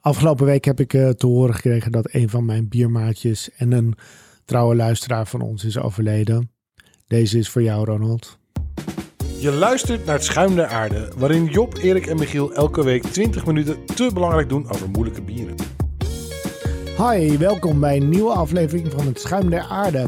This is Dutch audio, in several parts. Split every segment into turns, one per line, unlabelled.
Afgelopen week heb ik eh, te horen gekregen dat een van mijn biermaatjes en een trouwe luisteraar van ons is overleden. Deze is voor jou, Ronald.
Je luistert naar het Schuim der Aarde, waarin Job, Erik en Michiel elke week 20 minuten te belangrijk doen over moeilijke bieren.
Hi, welkom bij een nieuwe aflevering van het Schuim der Aarde.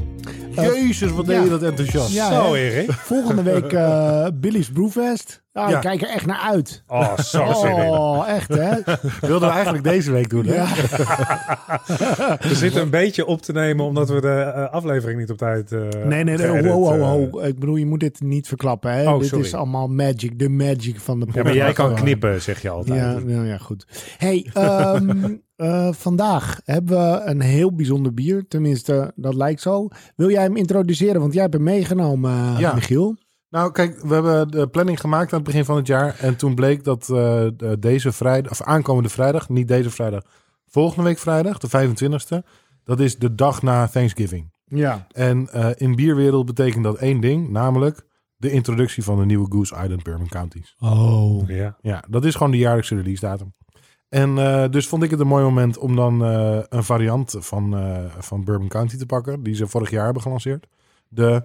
Eh,
Jezus, wat deed
ja.
je dat enthousiast.
Ja,
Zo,
hè?
Erik.
Volgende week eh, Billy's Brewfest. Ah,
Ja.
Ik kijk er echt naar uit.
Oh, zo zin
Oh, echt hè?
Wilden we eigenlijk deze week doen, hè?
Ja.
in. We zitten een beetje op te nemen omdat we de eh, aflevering niet op tijd. eh,
Nee, nee, nee.
geëdit,
Ho, ho,
eh.
ho. Ik bedoel, je moet dit niet verklappen. Hè?
Oh,
dit
sorry.
is allemaal magic. De magic van de
Ja,
podcast.
maar jij kan knippen, zeg je altijd.
Ja, nou ja, goed. hey, ehm, eh, vandaag hebben we een heel bijzonder bier. Tenminste, dat lijkt zo. Wil jij hem introduceren? Want jij hebt hem meegenomen, eh,
Ja.
Michiel.
Nou, kijk, we hebben de planning gemaakt aan het begin van het jaar. En toen bleek dat eh, de- deze vrijdag, of aankomende vrijdag, niet deze vrijdag, volgende week vrijdag, de 25e, dat is de dag na Thanksgiving.
Ja.
En eh, in bierwereld betekent dat één ding, namelijk de introductie van de nieuwe Goose Island Bourbon Counties.
Oh.
Ja.
Ja, dat is gewoon de jaarlijkse release datum. En eh, dus vond ik het een mooi moment om dan eh, een variant van, eh, van Bourbon County te pakken. Die ze vorig jaar hebben gelanceerd. De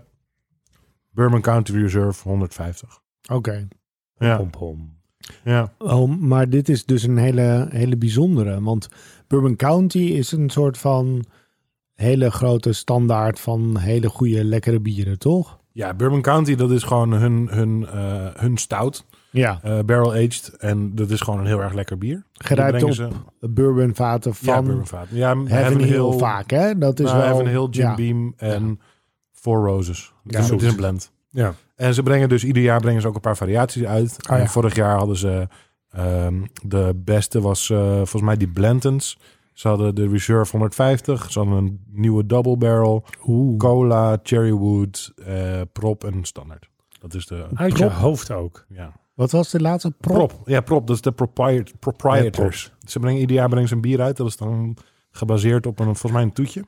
Bourbon County Reserve 150.
Oké.
Ja,
Pom, pom.
ja.
Oh, maar dit is dus een hele, hele bijzondere. Want Bourbon County is een soort van hele grote standaard van hele goede, lekkere bieren, toch?
ja Bourbon County dat is gewoon hun, hun, eh, hun stout.
Ja.
eh, barrel aged. En dat is gewoon een heel erg lekker bier.
Gerijpt
Die
op
brengen ze-
bourbonvaten
ja,
van
Bourbon Vaat. Ja,
Heaven Hill vaak, hè? Dat is
Nou,
Dus wel...
Heaven Hill, Jim
ja.
Beam en Four Roses.
Ja,
dus het
zoet.
is een blend.
Ja.
En ze brengen dus ieder jaar brengen ze ook een paar variaties uit.
Oh, ja.
En vorig jaar hadden ze ehm, de beste was eh, volgens mij die Blantons. Ze hadden de Reserve 150. Ze hadden een nieuwe double barrel,
Oeh.
cola, cherrywood, eh, prop en standaard. Dat is de
Uit
Prop.
je hoofd ook.
ja.
Wat was de laatste? Prop?
prop. Ja, prop. Dat is de propriet- proprietors. Ze brengen ieder jaar brengen ze een bier uit. Dat is dan gebaseerd op een volgens mij een toetje.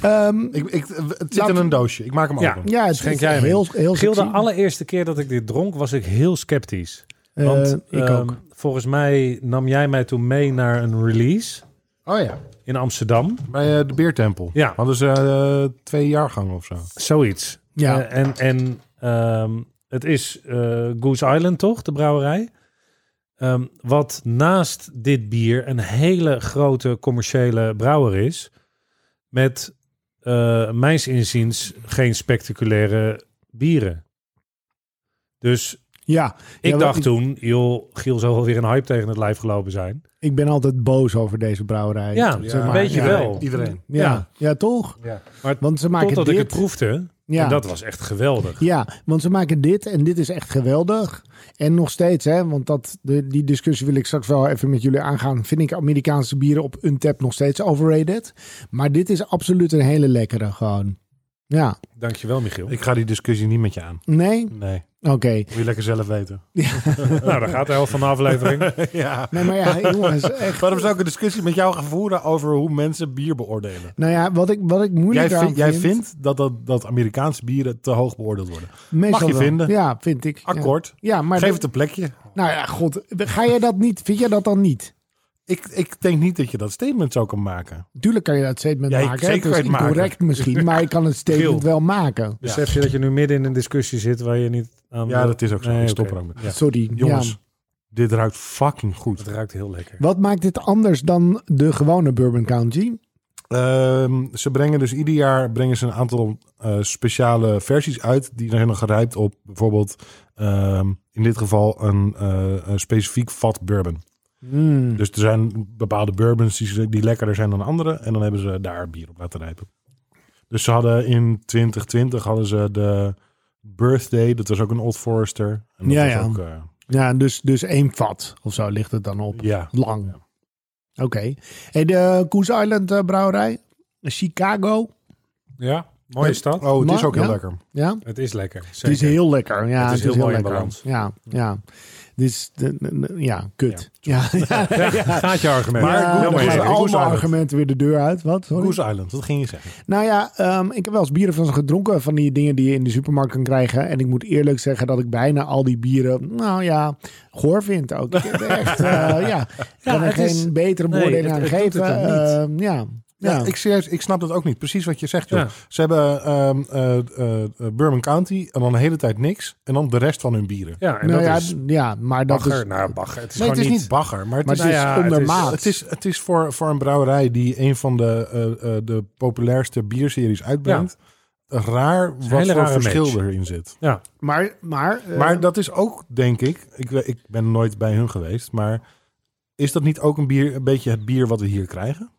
Ehm,
Ik, ik, het zit
Laat-
in een doosje. Ik maak hem
Ja.
open.
ja, het
Schenk
is
jij hem
heel, heel
Giel, de
sexy.
allereerste keer dat ik dit dronk, was ik heel sceptisch.
Eh,
Want
ik
ehm,
ook.
volgens mij nam jij mij toen mee naar een release
Oh ja.
in Amsterdam.
Bij eh, de Beertempel.
Ja.
Hadden ze eh, twee jaargangen of zo.
Zoiets.
Ja.
Eh, en en ehm, het is eh, Goose Island, toch? De brouwerij. Ehm, wat naast dit bier een hele grote commerciële brouwer is. Met eh mijns inziens geen spectaculaire bieren. Dus
ja,
ik
Ja, wat
dacht
ik-
toen, joh, Giel zou wel weer een hype tegen het lijf gelopen zijn.
ik ben altijd boos over deze brouwerij.
Ja,
zeg
een
maar.
beetje
ja.
wel.
Iedereen.
Ja, ja.
Ja.
toch?
Ja.
Maar
Want ze maken
Totdat
dit.
ik het proefde.
ja.
En dat was echt geweldig.
ja, want ze maken dit en dit is echt geweldig. En nog steeds, hè, want dat, de, die discussie wil ik straks wel even met jullie aangaan. Vind ik Amerikaanse bieren op een tap nog steeds overrated? Maar dit is absoluut een hele lekkere gewoon. Ja,
Dankjewel, Michiel.
Ik ga die discussie niet met je aan.
nee?
Nee.
Oké.
Moet je lekker zelf weten.
nou, daar gaat de helft van de aflevering.
ja.
Nee, maar ja, jongens, echt.
Waarom zou ik een discussie met jou gaan voeren over hoe mensen bier beoordelen?
Nou ja, wat ik, wat ik moeilijk
Jij,
aan
vindt-
vind...
jij vindt dat, dat, dat Amerikaanse bieren te hoog beoordeeld worden.
Meestal
Mag je
wel.
vinden.
Ja, vind ik.
Akkoord.
Ja, ja maar...
Geef
dat-
het een plekje.
Nou ja, god. Ga jij dat niet... Vind jij dat dan niet?
Ik, ik denk niet dat je dat statement zou kunnen maken.
Tuurlijk kan je dat statement
Ja, ik-
maken. hè. het
zeker
is
kan je het maken.
incorrect misschien, maar ik kan het statement
Giel.
wel maken.
Besef je dat je nu midden in een discussie zit waar je niet aan
Ja, dat is ook zo.
Nee,
ik stop
oké.
er ook mee.
Ja.
Sorry.
Jongens,
ja.
dit ruikt fucking goed.
Het ruikt heel lekker.
Wat maakt dit anders dan de gewone Bourbon County?
Ehm, ze brengen dus ieder jaar brengen ze een aantal eh, speciale versies uit. Die zijn dan gerijpt op bijvoorbeeld ehm, in dit geval een, eh, een specifiek vat bourbon.
Hmm.
Dus er zijn bepaalde bourbons die, die lekkerder zijn dan andere. En dan hebben ze daar bier op laten rijpen. Dus ze hadden in 2020 hadden ze de Birthday. Dat was ook een Old Forester. En dat
Ja,
was
ja.
Ook, eh,
Ja, dus, dus één vat of zo ligt het dan op.
ja.
Lang. Oké. En de Coos Island eh, brouwerij? Chicago?
Ja? Mooie stad.
Oh, het is
Maar-
ook heel
ja.
lekker.
Ja?
Het is lekker. Zeker.
Het is heel lekker. Ja,
Het is heel mooi in
lekker.
balans.
Ja, ja. Dit is, de- de- de- ja, kut. Ja, ja.
Gaat je argument.
Maar
Ja,
goed, dan
maar
gaan
ja,
allemaal
Goose Island.
argumenten weer de deur uit. Wat? Sorry?
Goose Island, wat ging je zeggen?
Nou ja, ehm, ik heb wel eens bieren van ze gedronken. Van die dingen die je in de supermarkt kan krijgen. En ik moet eerlijk zeggen dat ik bijna al die bieren, nou ja, goor vind ook. Ik heb echt, eh, ja, ik kan er
het
geen
is-
betere
nee,
beoordeling
het-
aan
het doet het
geven.
ook niet.
Ehm, ja,
Ja,
ja.
Ik, serieus, ik snap dat ook niet. Precies wat je zegt, joh.
Ja.
Ze hebben ehm eh, eh, eh, Bourbon County en dan de hele tijd niks. En dan de rest van hun bieren.
Ja, en
nou
dat
ja,
is
ja, maar dat
bagger.
is...
nou, bagger. Het is
nee, het
gewoon
is niet bagger, maar het
Maar
is... dus-
het is
Nou ja, het is-
ondermaat.
Het is, het is voor, voor een brouwerij die een van de, eh, eh, de populairste bierseries uitbrengt. Raar
een
wat
hele
voor
rare
verschil
match.
erin zit.
Maar, maar, eh,
Maar dat is ook, denk ik, ik, we- ik ben nooit bij hun geweest, maar is dat niet ook een, bier, een beetje het bier wat we hier krijgen?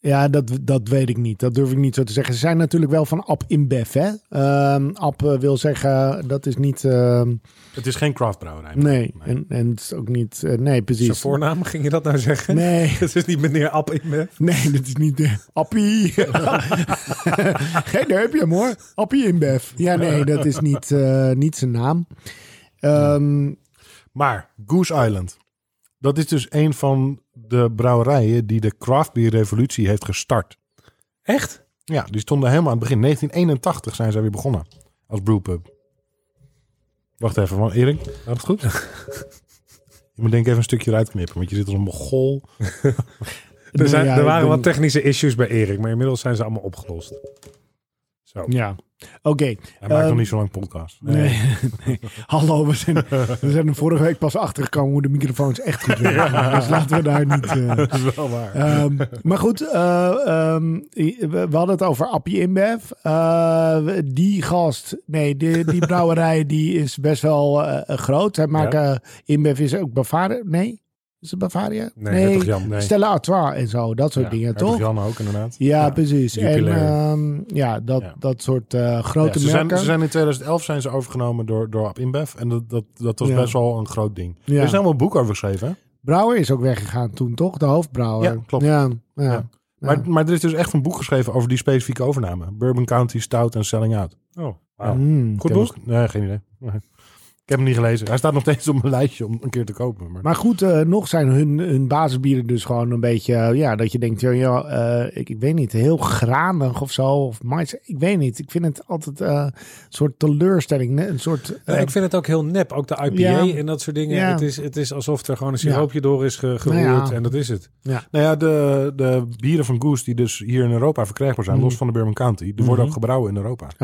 Ja, dat, dat weet ik niet. Dat durf ik niet zo te zeggen. Ze zijn natuurlijk wel van Ab in Bef, hè? Ehm Ab eh, wil zeggen, dat is niet... ehm,
Het is geen craftbrouwerij.
nee, en, en het is ook niet... eh, nee,
Zijn
precies.
voornaam, ging je dat nou zeggen?
Nee,
Het is niet meneer App in me.
nee, dat is niet de Appie. Geen daar heb je hem hoor. Appie in Bef. Ja, nee, dat is niet, eh, niet zijn naam. Ehm,
Maar Goose Island, dat is dus een van de brouwerijen die de craftbierrevolutie heeft gestart.
Echt?
Ja, die stonden helemaal aan het begin. 1981 zijn zij weer begonnen als brewpub. Wacht even, want Erik, gaat het goed? je moet denk ik even een stukje eruit knippen, want je zit als een mogol.
Er, zijn,
ja,
er
ik
waren
ben-
wat technische issues bij Erik, maar inmiddels zijn ze allemaal opgelost. Zo.
Ja, oké.
Hij maakt
Ehm,
nog niet zo lang podcast.
Nee. nee. Hallo, we zijn, we zijn er vorige week pas achter gekomen hoe de microfoons echt goed werken. Dus laten we daar niet. eh,
Dat is wel waar.
ehm, maar goed, eh, ehm, we, we hadden het over Appie InBev. Eh, die gast, nee, die, die brouwerij die is best wel eh, groot. Zij maken InBev is ook Bavaria. Nee, is het Bavaria?
Nee, Hertog Jan. Nee.
Stella Artois en zo, dat soort
Ja,
dingen,
Hertog
toch?
Jan ook, inderdaad.
Ja,
Ja,
precies. En
Jupiler.
ehm, ja, dat,
Ja.
dat soort eh, grote
Ja, ze, zijn,
merken.
ze zijn in 2011 zijn ze overgenomen door, door Ab InBev. En dat, dat, dat was
Ja.
best wel een groot ding.
Ja.
Er is helemaal een boek over geschreven. hè?
Brouwer is ook weggegaan toen, toch? De hoofdbrouwer.
Ja, klopt.
Ja, ja.
Ja. Maar, maar er is dus echt een boek geschreven over die specifieke overname. Bourbon County Stout en Selling Out.
Oh,
wauw.
Mm.
Goed
Ik heb
boek?
hem- Nee, geen idee. Nee. Ik heb hem niet gelezen. Hij staat nog steeds op mijn lijstje om een keer te kopen. Maar,
Maar goed, eh, nog zijn hun, hun basisbieren dus gewoon een beetje... eh, ja, dat je denkt, joh, joh, eh, ik, ik weet niet, heel granig of zo. Of mais, ik weet niet. Ik vind het altijd eh, een soort teleurstelling. ne? Een soort... eh,
ik vind het ook heel nep, ook de IPA
Ja.
en dat soort dingen.
Ja.
Het, is, het is alsof er gewoon een siroopje door is ge-
Nou
geroerd
ja.
en dat is het.
nou ja, de, de bieren van Goose die dus hier in Europa verkrijgbaar zijn,
Mhm.
los van de Bourbon County, die worden ook gebrouwen in Europa.
oh,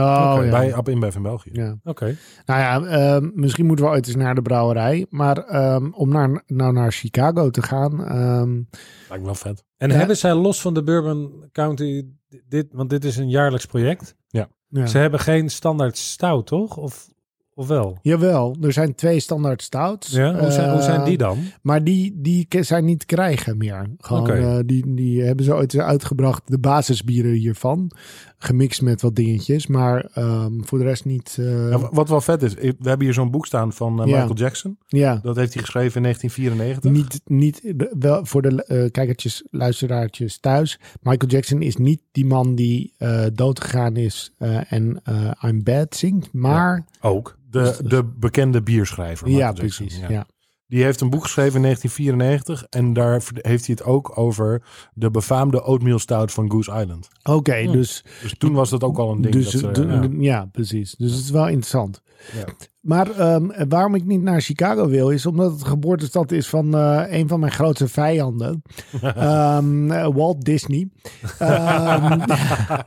ja.
Bij Ab InBev in België.
ja.
Oké.
Nou ja, ehm, misschien moeten we ooit eens naar de brouwerij. Maar ehm, om naar, nou naar Chicago te gaan... ehm,
Lijkt wel vet.
En
Ja.
hebben zij los van de Bourbon County, dit, want dit is een jaarlijks project.
ja.
Ze hebben geen standaard stout, toch? Of, of wel?
Jawel, er zijn twee standaard stouts.
Ja? Hoe, zijn, hoe
eh,
zijn die dan?
Maar die, die ke- zijn niet te krijgen meer. Gewoon,
Oké.
eh, die, die hebben ze ooit uitgebracht, de basisbieren hiervan. Gemixt met wat dingetjes, maar ehm, voor de rest niet. eh,
Ja, Nou, wa- wat wel vet is, ik- we hebben hier zo'n boek staan van eh,
Ja.
Michael Jackson.
ja,
Dat heeft hij geschreven in 1994.
niet, niet de- wel voor de eh, kijkertjes, luisteraartjes thuis. Michael Jackson is niet die man die eh doodgegaan is eh, en eh, I'm Bad zingt, maar
Ook.
De, de bekende bierschrijver.
ja,
Michael Jackson,
precies.
Dus- ja.
Ja.
Die heeft een boek geschreven in 1994. En daar verd- heeft hij het ook over de befaamde oatmeal stout van Goose Island.
Oké, dus
Dus toen was dat ook al een ding.
Dus,
dat ze-
de-
ja.
de- ja. precies. Dus het is wel interessant.
Ja.
Maar ehm, waarom ik niet naar Chicago wil, is omdat het geboortestad is van eh, een van mijn grootste vijanden. Ehm, eh, Walt Disney. Ehm,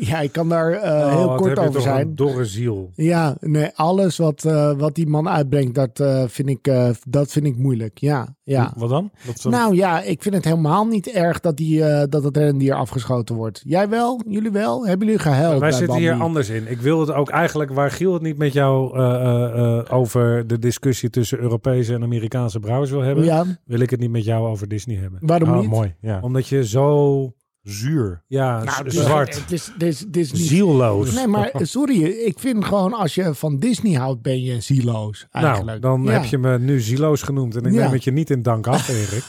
ja, ik kan daar eh,
Oh,
heel kort over zijn.
Een dorre ziel.
Ja, nee, alles wat, eh, wat die man uitbrengt, dat, eh, vind ik, eh, dat vind ik moeilijk. Ja, ja.
Wat dan? Dat ze-
Nou ja, ik vind het helemaal niet erg dat, die, eh, dat het rendier afgeschoten wordt. Jij wel? Jullie wel? Hebben jullie gehuild?
Wij
bij
zitten hier
Bambi?
anders in. Ik wil het ook eigenlijk, waar Giel het niet met jou eh, eh, eh, over de discussie tussen Europese en Amerikaanse brouwers wil hebben,
Ja,
wil ik het niet met jou over Disney hebben. Oh,
waarom
Ah,
niet?
mooi. Ja.
Omdat je zo,
Zuur.
ja,
Nou, het
z-
is-
dus zwart,
Het is, het is, het is niet...
zielloos.
Nee, maar sorry, ik vind gewoon als je van Disney houdt, ben je zieloos
nou,
eigenlijk.
dan
Ja.
heb je me nu zieloos genoemd en ik
Ja.
neem het je niet in dank af, Erik.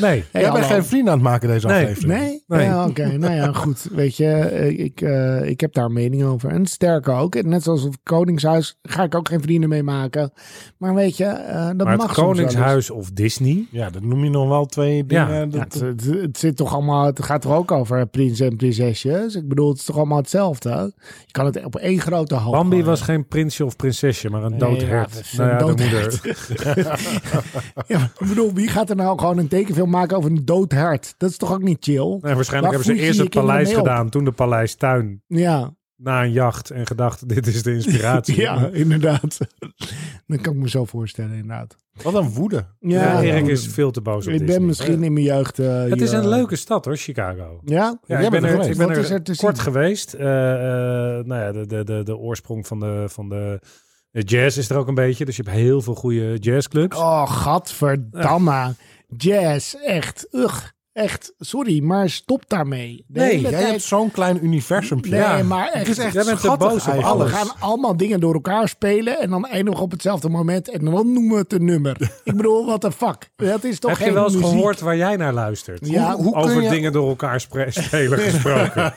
Nee.
Hey,
Jij bent
hallo.
geen vrienden aan het maken deze
Nee.
aflevering.
Nee?
Nee.
Ja, oké. Nou ja, goed. Weet je, eh, ik, eh, ik heb daar een mening over. En sterker ook, en net zoals het Koningshuis, ga ik ook geen vrienden mee maken. Maar weet je, eh, dat
maar
mag
het
soms wel eens.
Koningshuis of Disney.
Ja, dat noem je nog wel twee dingen.
Ja.
Ja,
dat-
het, het, het zit toch allemaal, het gaat er ook over, hè, prins en prinsesjes. Ik bedoel, het is toch allemaal hetzelfde. hè? Je kan het op één grote hoop.
Bambi
gooien.
was geen prinsje of prinsesje, maar een
Oh, Nee,
dood
ja,
hert.
dat is
nou
een
ja, de
dood
moeder.
Ja, maar ik bedoel, wie gaat er nou gewoon een tekenfilm maken over een dood hert? Dat is toch ook niet chill?
Nee, waarschijnlijk
Waar
hebben ze
voed je
eerst
je
het
kinderen
paleis
mee op?
gedaan, toen de paleistuin.
Ja,
Na een jacht en gedacht, dit is de inspiratie.
ja inderdaad. Dat kan ik me zo voorstellen, inderdaad.
Wat een woede.
Ja,
Ja, Erik
ja.
is veel te boos op
ik
Disney.
ben misschien in mijn jeugd. eh,
Het is
hier,
een
eh,
leuke stad hoor, Chicago.
Ja?
Ja,
Jij
ik ben
bent er
er, ik
geweest.
ben
Wat
er,
is er te
kort
zien?
geweest. Eh, eh, nou ja, de, de, de, de oorsprong van de, van de de jazz is er ook een beetje. Dus je hebt heel veel goede jazzclubs.
Oh, gadverdamme. Jazz, echt. Ugh, echt. Sorry, maar stop daarmee. De
Nee,
hele
Jij
tijd-
hebt zo'n klein universumpje.
Nee,
ja.
maar echt.
Het is echt
Jij bent te
schattig
boos op
eigenlijk.
Alle
alles.
gaan allemaal dingen door elkaar spelen en dan eindigen op hetzelfde moment en dan noemen we het een nummer. Ik bedoel, what the fuck. Dat is toch
Heb
geen
je wel eens
muziek?
gehoord waar jij naar luistert?
Ja.
Hoe, hoe
Over
kun je,
dingen door elkaar spre- spelen gesproken.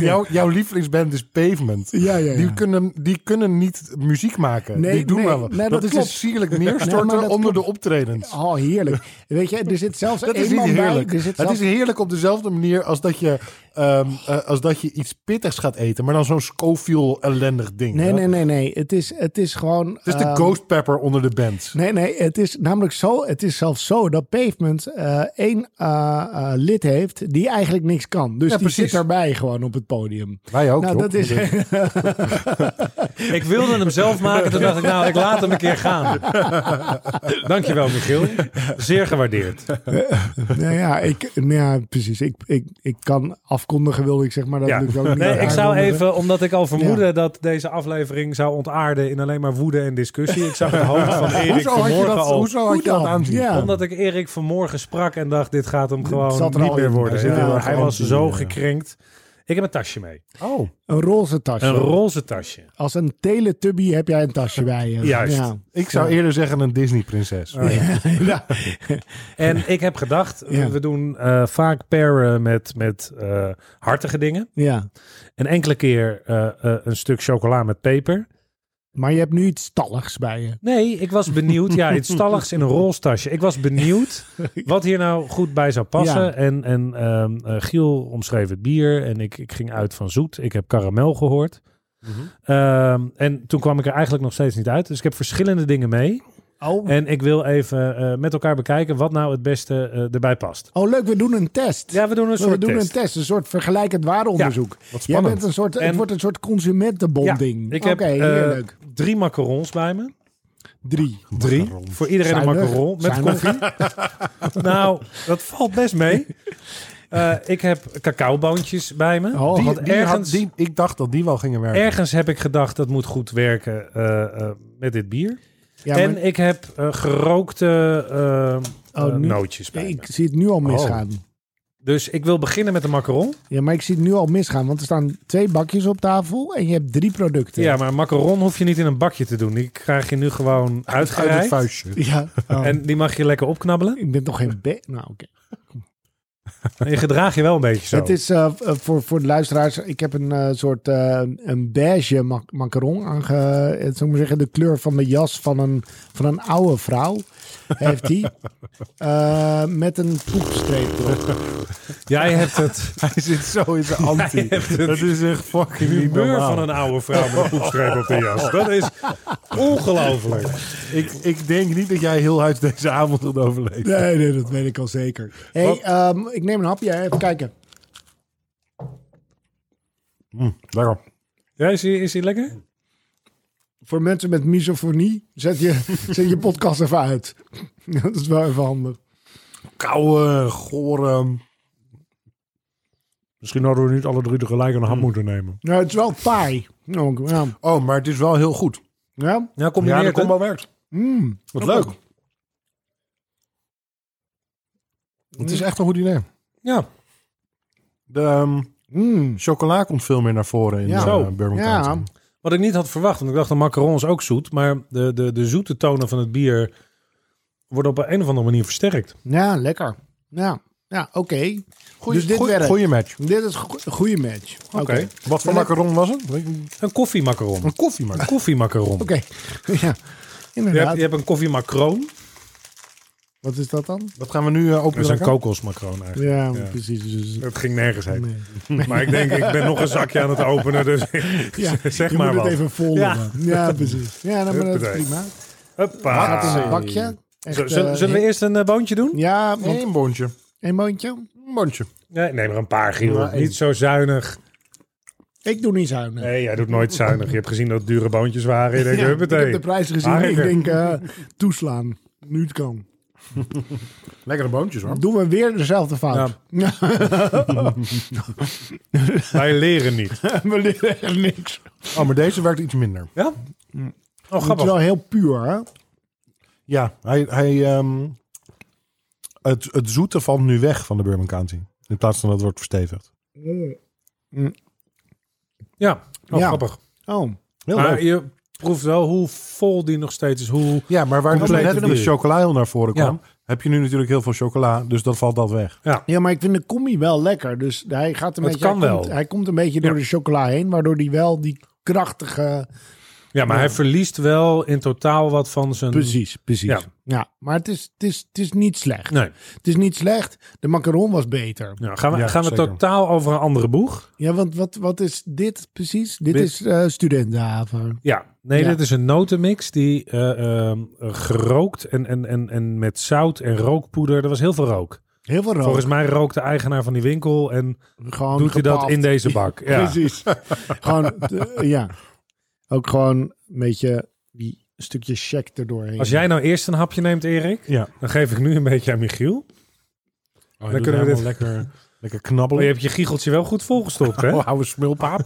Jouw, jouw lievelingsband is Pavement.
Ja, ja, ja.
Die, kunnen, die kunnen niet muziek maken.
Nee,
die doen
nee,
wel.
nee,
dat,
dat
is
klopt.
een sierlijk neerstorten
Nee, maar dat
onder de optredens.
Oh, heerlijk. Weet je, er zit zelfs
Dat
één
is niet
man
heerlijk.
bij. Er zit
Het
zelfs...
is heerlijk op dezelfde manier als dat je, ehm, eh, als dat je iets pittigs gaat eten. Maar dan zo'n Scoville-ellendig ding.
Nee,
hè?
nee, nee, nee. Het is, het is gewoon... eh,
Het is de ghost pepper onder de bands.
Nee, nee, het is namelijk zo. Het is zelfs zo dat Pavement eh, één eh, eh, lid heeft die eigenlijk niks kan. Dus
Ja,
die
precies.
zit daarbij gewoon op het podium.
Wij ook,
nou,
Job.
dat is.
Ik wilde hem zelf maken, toen dacht ik, nou, ik laat hem een keer gaan. Dankjewel, Michiel. Zeer gewaardeerd.
nou ja, ik, nou ja precies. Ik, ik, ik kan afkondigen, wilde ik zeg maar. Dat
Ja.
lukt ook niet.
Nee, ik zou
Aankondigen.
even, omdat ik al vermoedde dat deze aflevering zou ontaarden in alleen maar woede en discussie. Ik zag het hoofd van Erik
Hoezo had je
vanmorgen
dat,
al.
hoezo had
Hoe
je dat
dan?
aanzien?
Oh, Ja.
Omdat ik Erik vanmorgen sprak en dacht, dit gaat hem
zat
gewoon
er
niet
al
meer
in.
worden.
Hij zit er
Ja,
al
hij
in.
was zo
Ja.
gekrenkt. Ik heb een tasje mee.
Oh,
Een roze tasje.
Een roze tasje.
Als een teletubby heb jij een tasje bij je.
Juist.
Ja.
ik zou eerder zeggen een Disney-prinses.
Oh, Ja.
En ik heb gedacht,
Ja.
we doen eh, vaak paren met, met eh, hartige dingen.
ja.
En enkele keer eh, eh, een stuk chocola met peper.
Maar je hebt nu iets talligs bij je.
Nee, ik was benieuwd. Ja, iets stalligs in een rolstasje. Ik was benieuwd wat hier nou goed bij zou passen.
Ja.
En, en ehm, eh, Giel omschreef het bier. En ik, ik ging uit van zoet. Ik heb karamel gehoord.
Mhm.
Ehm, en toen kwam ik er eigenlijk nog steeds niet uit. Dus ik heb verschillende dingen mee.
Oh.
En ik wil even eh, met elkaar bekijken wat nou het beste eh, erbij past.
oh, leuk. We doen een test.
Ja, we doen een
we
soort
doen
test.
een test, een soort vergelijkend waardeonderzoek.
Wat
Jij
spannend.
bent een soort,
En-
het wordt een soort consumentenbonding.
ik heb
Oké,
eh,
heerlijk.
drie macarons bij me.
Drie.
Drie.
Voor iedereen een
Zuinig.
macaron met
Zuinig.
koffie. nou, dat valt best mee. Eh, ik heb cacaoboontjes bij me.
Oh,
Die-
wat
die had-
ergens-
die- ik dacht dat die wel gingen werken.
Ergens heb ik gedacht dat moet goed werken eh, eh, met dit bier.
Ja,
en
maar
ik heb eh, gerookte eh,
Oh,
eh,
nu-
nootjes bij
ik
me.
zie het nu
Oh.
al misgaan.
Dus ik wil beginnen met de macaron.
Ja, maar ik zie het nu al misgaan, want er staan twee bakjes op tafel en je hebt drie producten.
Ja, maar een macaron hoef je niet in een bakje te doen. Die krijg je nu gewoon
Uit het
uitgereikt.
vuistje.
Ja. Oh,
en die mag je lekker opknabbelen.
ik ben toch geen be. Nou, oké.
En je gedraag je wel een beetje zo.
Het is eh, v- eh, voor, voor de luisteraars. Ik heb een eh, soort eh, een beige ma- macaron aange. eh, Zou ik maar zeggen, de kleur van de jas van een, van een oude vrouw. Heeft die. Eh, met een poepstreep erop.
Jij hebt het,
Hij zit zo in zijn anti. dat is echt fucking
de
niet
humeur
normaal.
van een oude vrouw met een poepstreep op de jas. Dat is ongelooflijk.
ik, ik denk niet dat jij heel huis deze avond gaat overleven.
Nee, nee, dat weet ik al zeker. Hey, ehm, ik neem een hapje. Even kijken.
Lekker.
Ja, is die, is die lekker?
Voor mensen met misofonie, zet je, zet je podcast even uit. Dat is wel even handig.
Koude, gore...
Misschien hadden we niet alle drie tegelijk een hap moeten nemen.
Nou, het is wel taai. Ook, Ja.
Oh, maar het is wel heel goed.
ja.
Ja,
Ja,
combineer
de
het, hè?
combo werkt.
Mm.
Wat leuk. Het is echt een goed idee.
Ja,
De ehm,
Mm.
chocola komt veel meer naar voren in
Ja.
de
Zo.
eh, Bourbon
Ja.
County.
Wat ik niet had verwacht, want ik dacht de macaron is ook zoet. Maar de, de, de zoete tonen van het bier worden op een of andere manier versterkt.
Ja, lekker. Ja, ja oké.
Goeie,
Dus dit
goeie-
werkt.
goeie match.
Dit is een go- een goede match. Oké.
Oké. Wat voor
Ja,
macaron was het? Weet je,
Een koffiemacaron.
Een koffie, maar.
Een koffiemacaron.
Oké. ja,
Je hebt,
inderdaad.
je hebt een koffiemacroon.
Wat is dat dan?
Wat gaan we nu eh,
Dat is
openen?
een
Rakan?
kokosmacroon eigenlijk.
Ja, precies. Dus,
Het ging nergens heen. Maar ik denk, ik ben nog een zakje aan het openen. Dus
ja,
zeg
je
maar
moet
wat.
het even volgen.
Ja.
Ja, precies. Ja, nou, maar dat is
Huppatee.
prima.
Huppa.
Gaat in een bakje. Echt,
Z- zullen,
eh,
zullen we eerst een eh, boontje doen?
Ja, want
Een boontje.
Een mondje?
Een boontje.
Nee, neem er een paar, Giel.
Ja, één.
Niet zo zuinig.
Ik doe niet zuinig.
Nee, jij doet nooit zuinig. Je hebt gezien dat het dure boontjes waren. Je denkt,
Ja, ik
huppatee.
heb de prijs gezien.
Ah,
ik
lekker.
denk, eh, toeslaan. Nu het kan.
Lekkere boontjes hoor.
Doen we weer dezelfde fout.
Wij leren niet.
we leren echt niks.
Oh, maar deze werkt iets minder.
Ja? Oh,
Het is
grappig.
wel heel puur, hè?
Ja, hij, hij, ehm, het, het zoete valt nu weg van de Bourbon County. In plaats van dat het wordt verstevigd.
Ja, oh,
Ja.
grappig.
Oh,
Heel leuk.
Maar je proeft wel hoe vol die nog steeds is. Hoe...
Ja, maar waar dus
Compleet
net de
bier.
chocola heel naar voren
Ja.
kwam, heb je nu natuurlijk heel veel chocola. Dus dat valt dat weg.
ja, maar ik vind de combi wel lekker. Dus hij gaat een
Het
beetje...
kan
hij
wel.
Komt, hij komt een beetje door
Ja.
de chocola heen, waardoor hij wel die krachtige...
Ja, maar hij verliest wel in totaal wat van zijn...
Precies, precies.
Ja.
Ja, maar het is, het, is, het is niet slecht.
Nee.
Het is niet slecht. De macaron was beter.
Nou, gaan we,
Ja,
gaan we
zeker.
totaal over een andere boeg?
Ja, want wat, wat is dit precies? Dit,
Dit-
is eh, studentenhaven.
Ja. Nee,
Ja.
dit is een notenmix die eh, ehm, gerookt en, en, en, en met zout en rookpoeder. Er was heel veel rook.
Heel veel rook.
Volgens mij rookt de eigenaar van die winkel en
Gewoon
doet hij dat
gepaald.
in deze bak. Ja.
Precies. gewoon, eh, ja. Ook gewoon een beetje die stukje check erdoorheen.
Als jij nou eerst een hapje neemt, Erik,
Ja.
dan geef ik nu een beetje aan Michiel.
dan
kunnen
kunnen
we
we dit lekker, lekker
Maar je
knabbelen.
hebt je giecheltje wel goed volgestopt, hè?
Oh, oude smulpaap.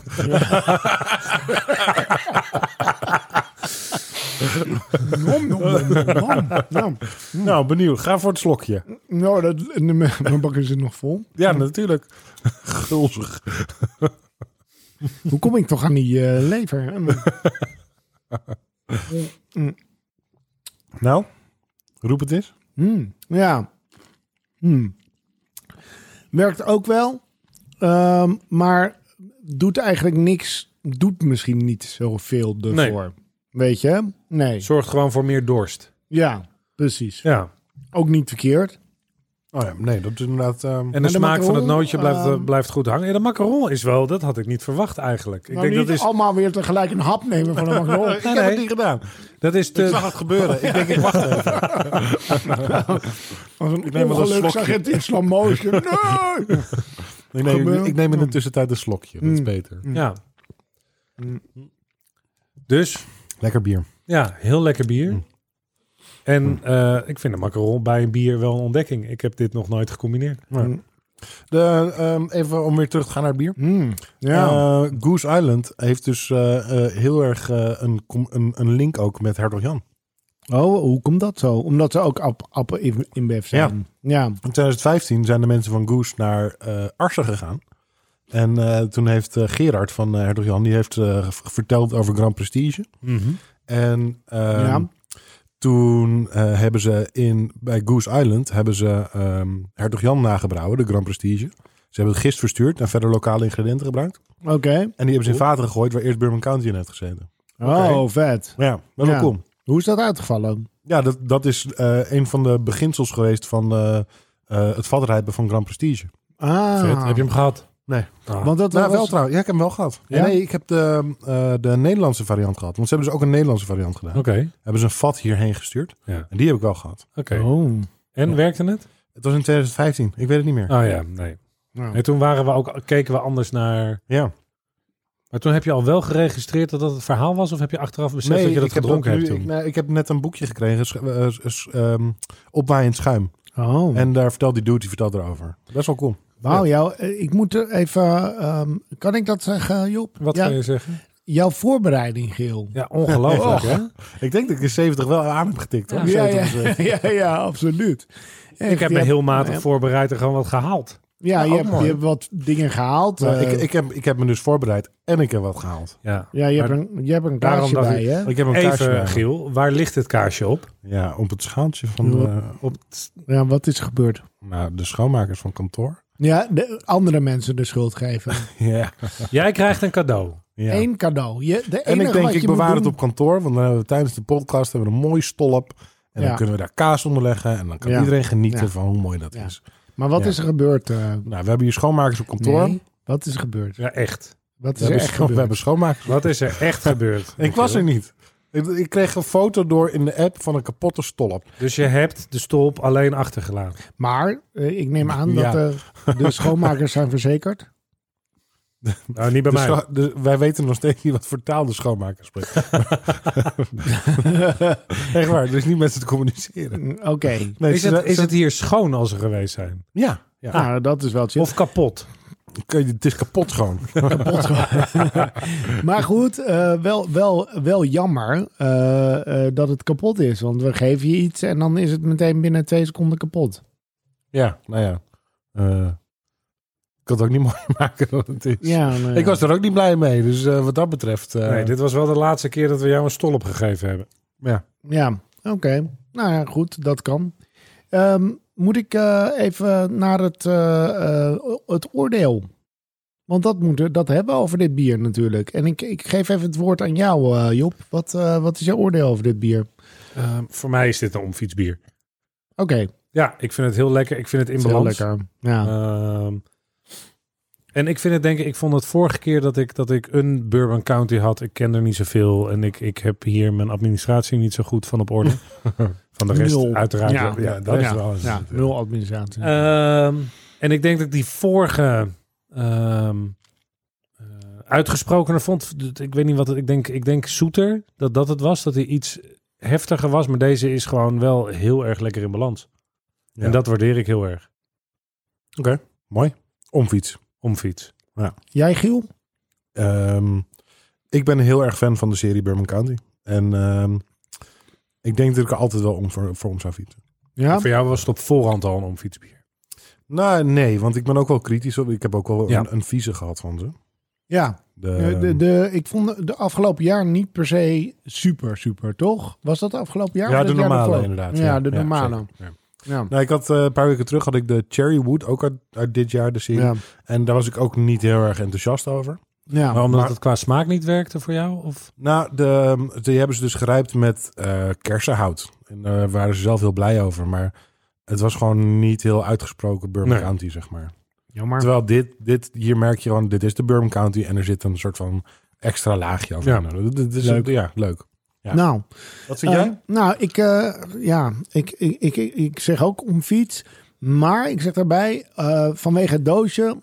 Nom, nom, nom, nom, Eh, nom, nom.
Nou, benieuwd. Ga voor het slokje.
Nou, dat, en de- mijn bak is er nog vol.
Ja, natuurlijk. Gulzig.
Hoe kom ik toch aan die eh, lever?
Nou, roep het eens.
Hmm, ja. Hmm. Werkt ook wel. Ehm, maar doet eigenlijk niks. Doet misschien niet zoveel ervoor. Weet je? Nee.
Zorgt gewoon voor meer dorst.
Ja, precies.
Ja.
Ook niet verkeerd.
Oh ja, nee, dat is inderdaad... ehm,
En de,
Maar de
smaak van het
macaron,
nootje blijft, eh,
ehm,
blijft goed hangen. En de macaron is wel, dat had ik niet verwacht eigenlijk. Ik
Ik denk
denk
Nou, niet
dat is,
allemaal weer tegelijk een hap nemen van een macaron.
ik
nee,
heb
nee.
het niet gedaan.
dat is
Ik
de,
zag het gebeuren. Ik denk, ik wacht even.
Als een
neem wel een slokje.
ongeluksagent in slow motion. Nee!
Ik Mm. neem,
Gebeuren.
ik neem in de tussentijd een slokje. Dat is
Mm.
beter.
Ja. Dus,
Lekker bier.
ja, heel lekker bier.
Mm.
En eh, ik vind de macaron bij een bier wel een ontdekking. Ik heb dit nog nooit gecombineerd.
De, ehm, even om weer terug te gaan naar het bier.
Hmm, ja.
Eh, Goose Island heeft dus eh, eh, heel erg eh, een, com- een, een link ook met Hertog Jan.
oh, hoe komt dat zo? Omdat ze ook app, appen in, in Bev zijn. Ja.
In 2015 zijn de mensen van Goose naar eh Arsen gegaan. En eh, toen heeft eh, Gerard van eh, Hertog Jan, die heeft eh, v- verteld over Grand Prestige.
Mhm.
En ehm,
Ja.
toen eh, hebben ze in, bij Goose Island hebben ze ehm, Hertog Jan nagebrouwen, de Grand Prestige. Ze hebben het gist verstuurd en verder lokale ingrediënten gebruikt.
Oké.
En die hebben ze in vaten gegooid waar eerst Bourbon County in heeft gezeten.
Oh, vet.
Ja, best wel
Ja.
cool.
Hoe is dat uitgevallen?
Ja, dat, dat is eh, een van de beginsels geweest van eh, eh, het vatrijpen van Grand Prestige.
Ah.
Vet. Heb je hem gehad?
Nee.
Ah.
Want dat
Nou,
was...
wel trouwens. Ja, ik heb hem wel gehad.
Ja?
Nee, ik heb de, eh, de Nederlandse variant gehad. Want ze hebben dus ook een Nederlandse variant gedaan.
Oké.
Hebben ze een vat hierheen gestuurd.
Oh. Ja.
En die heb ik wel gehad.
Oké.
Oh.
En werkte het?
Het was in 2015. Ik weet het niet meer.
Oh ja, nee.
Nou.
En toen waren we ook, keken we anders naar...
Ja.
Maar toen heb je al wel geregistreerd dat dat het verhaal was? Of heb je achteraf beseft dat je dat
ik heb
gedronken
ook nu-
hebt toen?
Ik, nee, ik heb net een boekje gekregen. Sch, eh, s- s- ehm, opwaaiend schuim.
Oh.
En daar vertelt die dude, die vertelt erover. Best wel cool.
Wauw, jou, eh, ik moet er even... ehm, kan ik dat zeggen, Job?
Wat
Ja,
kan je zeggen?
Jouw voorbereiding, Geel.
Ja, ongelooflijk hè?
Ik denk dat ik in 70 wel aan heb getikt. Hoor.
Ja, ja,
70%.
ja, ja, absoluut.
Ik heb me heel matig
Ja.
voorbereid en gewoon wat gehaald.
Ja,
Ja,
je,
ook
hebt,
mooi.
je hebt wat dingen gehaald.
Maar
eh,
ik, ik, heb, ik heb me dus voorbereid en ik heb wat gehaald.
Ja.
ja, je hebt,
Maar
een, je hebt een
daarom
kaartje
dacht
bij, hè?
Ik heb een kaarsje bij
Even,
me.
Giel, waar ligt het kaarsje op?
Ja, op het schaaltje van de,
Op het-
Ja, wat is er gebeurd?
nou, de schoonmakers van kantoor.
Ja, de, andere mensen de schuld geven.
Ja.
Jij krijgt een cadeau.
ja.
Eén cadeau. Je, de
En
enige
ik denk,
wat
ik
je moet
bewaar het
doen-
op kantoor. Want dan hebben we tijdens de podcast hebben we een mooi stolp. En
Ja.
dan kunnen we daar kaas onder leggen. En dan kan
Ja.
iedereen genieten
Ja.
van hoe mooi dat
Ja.
is.
Maar wat
Ja.
is er gebeurd? eh,
Nou, we hebben hier schoonmakers op kantoor.
nee, wat is er gebeurd?
Ja, echt.
Wat
we,
is er
hebben
echt
scho- we
gebeurd?
hebben schoonmakers.
Wat is er echt gebeurd?
Ik was er niet. Ik, ik kreeg een foto door in de app van een kapotte stolp.
Dus je hebt de stolp alleen achtergelaten.
Maar eh, ik neem aan dat
Ja.
eh, de schoonmakers zijn verzekerd.
Nou, niet bij
De
mij.
scho- de- Dus wij weten nog steeds niet wat voor taal de schoonmaker spreekt. Echt waar, dus niet met ze te communiceren.
Mm, Oké.
Nee,
Is
ze-
het, is
ze- Ah.
het hier schoon als ze geweest zijn?
Ja, ja.
Nou, dat is wel chill.
Of kapot?
Kun je- het is kapot schoon.
maar goed, eh, wel, wel, wel jammer eh, eh, dat het kapot is. Want we geven je iets en dan is het meteen binnen twee seconden kapot.
Ja, nou ja. Eh, ik kan het ook niet mooier maken dan het is.
Ja, nou ja.
Ik was er ook niet blij mee, dus eh, wat dat betreft... eh,
Nee, dit was wel de laatste keer dat we jou een stolp gegeven hebben.
ja.
Ja, oké. Nou ja, goed, dat kan. Ehm, moet ik eh, even naar het, eh, eh, het oordeel? Want dat, moeten dat hebben we over dit bier natuurlijk. En ik, ik geef even het woord aan jou, eh, Job. Wat, eh, wat is jouw oordeel over dit bier? Oké,
Ehm, voor mij is dit een omfietsbier. Ja, ik vind het heel lekker. Ik vind het in
is heel
balans.
lekker. Ja.
Ehm, en ik vind het denk ik, ik vond het vorige keer dat ik, dat ik een Bourbon County had. Ik ken er niet zoveel en ik, ik heb hier mijn administratie niet zo goed van op orde. van de rest
Nul.
uiteraard.
Ja.
wel. Ja, dat
Ja.
is wel eens.
ja, nul administratie.
Ehm, en ik denk dat ik die vorige ehm eh, uitgesprokener vond. Ik weet niet wat het, ik denk. Ik denk zoeter dat dat het was. Dat hij iets heftiger was. Maar deze is gewoon wel heel erg lekker in balans.
Ja.
En dat waardeer ik heel erg.
Mooi. Omfiets.
Omfiets.
Jij, Giel?
Ehm, ik ben heel erg fan van de serie Bourbon County. En ehm, ik denk dat ik er altijd wel om voor, voor om zou fietsen.
Ja?
Voor jou was het op voorhand al een omfietsbier.
Nou, nee, want ik ben ook wel kritisch. op. Ik heb ook wel
Ja.
een, een vieze gehad van ze.
Ja.
De, ehm,
Eh, de, de, ik vond de afgelopen jaar niet per se super, super, toch? Was dat de afgelopen jaar?
ja,
of
de
het jaar
normale
daarvoor?
inderdaad.
Ja, de normale.
zeker. Ja.
Ja.
Nou, ik had eh, een paar weken terug had ik de Cherry Wood, ook uit, uit dit jaar de serie.
Ja.
En daar was ik ook niet heel erg enthousiast over.
Ja.
maar omdat
maar-
het qua smaak niet werkte voor jou? Of?
Nou, de, die hebben ze dus gerijpt met eh, kersenhout. En daar waren ze zelf heel blij over. Maar het was gewoon niet heel uitgesproken Bourbon
Nee.
County, zeg maar.
Jammer.
Terwijl dit, dit, hier merk je gewoon, dit is de Bourbon County. En er zit een soort van extra laagje over.
Ja.
Nou, dit- dit is-
Leuk.
ja, leuk. Ja.
Nou,
Wat vind jij?
Eh, nou, ik, eh, ja, ik, ik, ik, ik, ik zeg ook om fiets. Maar ik zeg daarbij, eh, vanwege het doosje,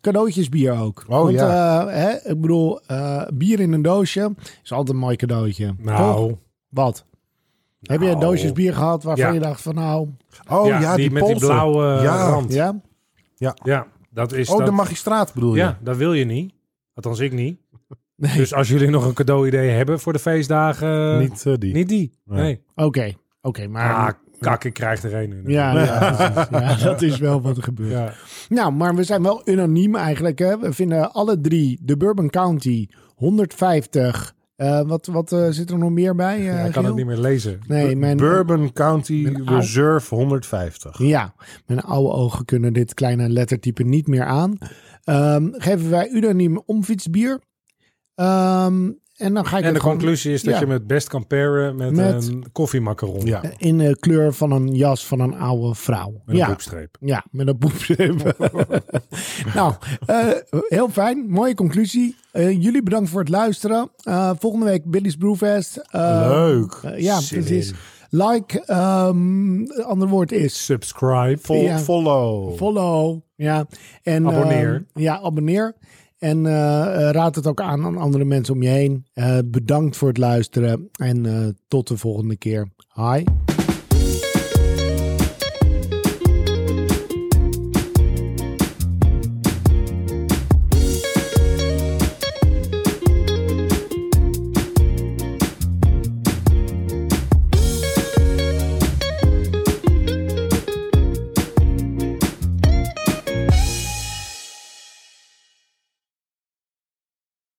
cadeautjes bier ook.
Oh,
Want,
ja.
eh, hè, ik bedoel, eh, bier in een doosje is altijd een mooi cadeautje. Toch? Wat? Heb je
Nou.
doosjes bier gehad waarvan
Ja.
je dacht van nou,
Oh ja, die,
met die
polsen.
blauwe eh,
Ja.
rand. Ja,
ja?
dat is
Oh,
dat.
de magistraat bedoel je?
Ja, dat wil je niet. Althans, ik niet. Dus als jullie nog een cadeau-idee hebben voor de feestdagen, niet,
Niet eh, die.
die. Nee.
Nee.
Oké, oké, maar...
Ah, kak, ik krijg er één nu.
ja, ja, precies. ja, dat is wel wat er gebeurt.
Ja.
Nou, maar we zijn wel unaniem eigenlijk. Hè? We vinden alle drie de Bourbon County 150. Eh, wat wat eh, zit er nog meer bij? eh,
Ja, ik kan
Giel?
het niet meer lezen.
Nee, mijn,
Bourbon County
Mijn oude-
Reserve 150.
ja, mijn oude ogen kunnen dit kleine lettertype niet meer aan. Ehm, geven wij unaniem omfietsbier. Ehm en dan ga ik
En
het
de
gewoon
conclusie is dat
ja.
je me het best kan paren met,
Met-
een koffiemacaron.
Ja.
in de kleur van een jas van een oude vrouw.
Met een
ja.
boekstreep.
Ja, met een boepzip. nou, eh, heel fijn. Mooie conclusie. Eh, jullie bedankt voor het luisteren. Eh, volgende week Billy's Brewfest. Eh,
Leuk.
eh, ja,
Zin
precies.
in.
Like, ehm, het ander woord is
Subscribe.
Fol-
ja.
Follow.
follow. Ja. En,
Abonneer.
ehm, ja, abonneer. En eh, eh, raad het ook aan aan andere mensen om je heen. Eh, bedankt voor het luisteren. En eh, tot de volgende keer. Hi.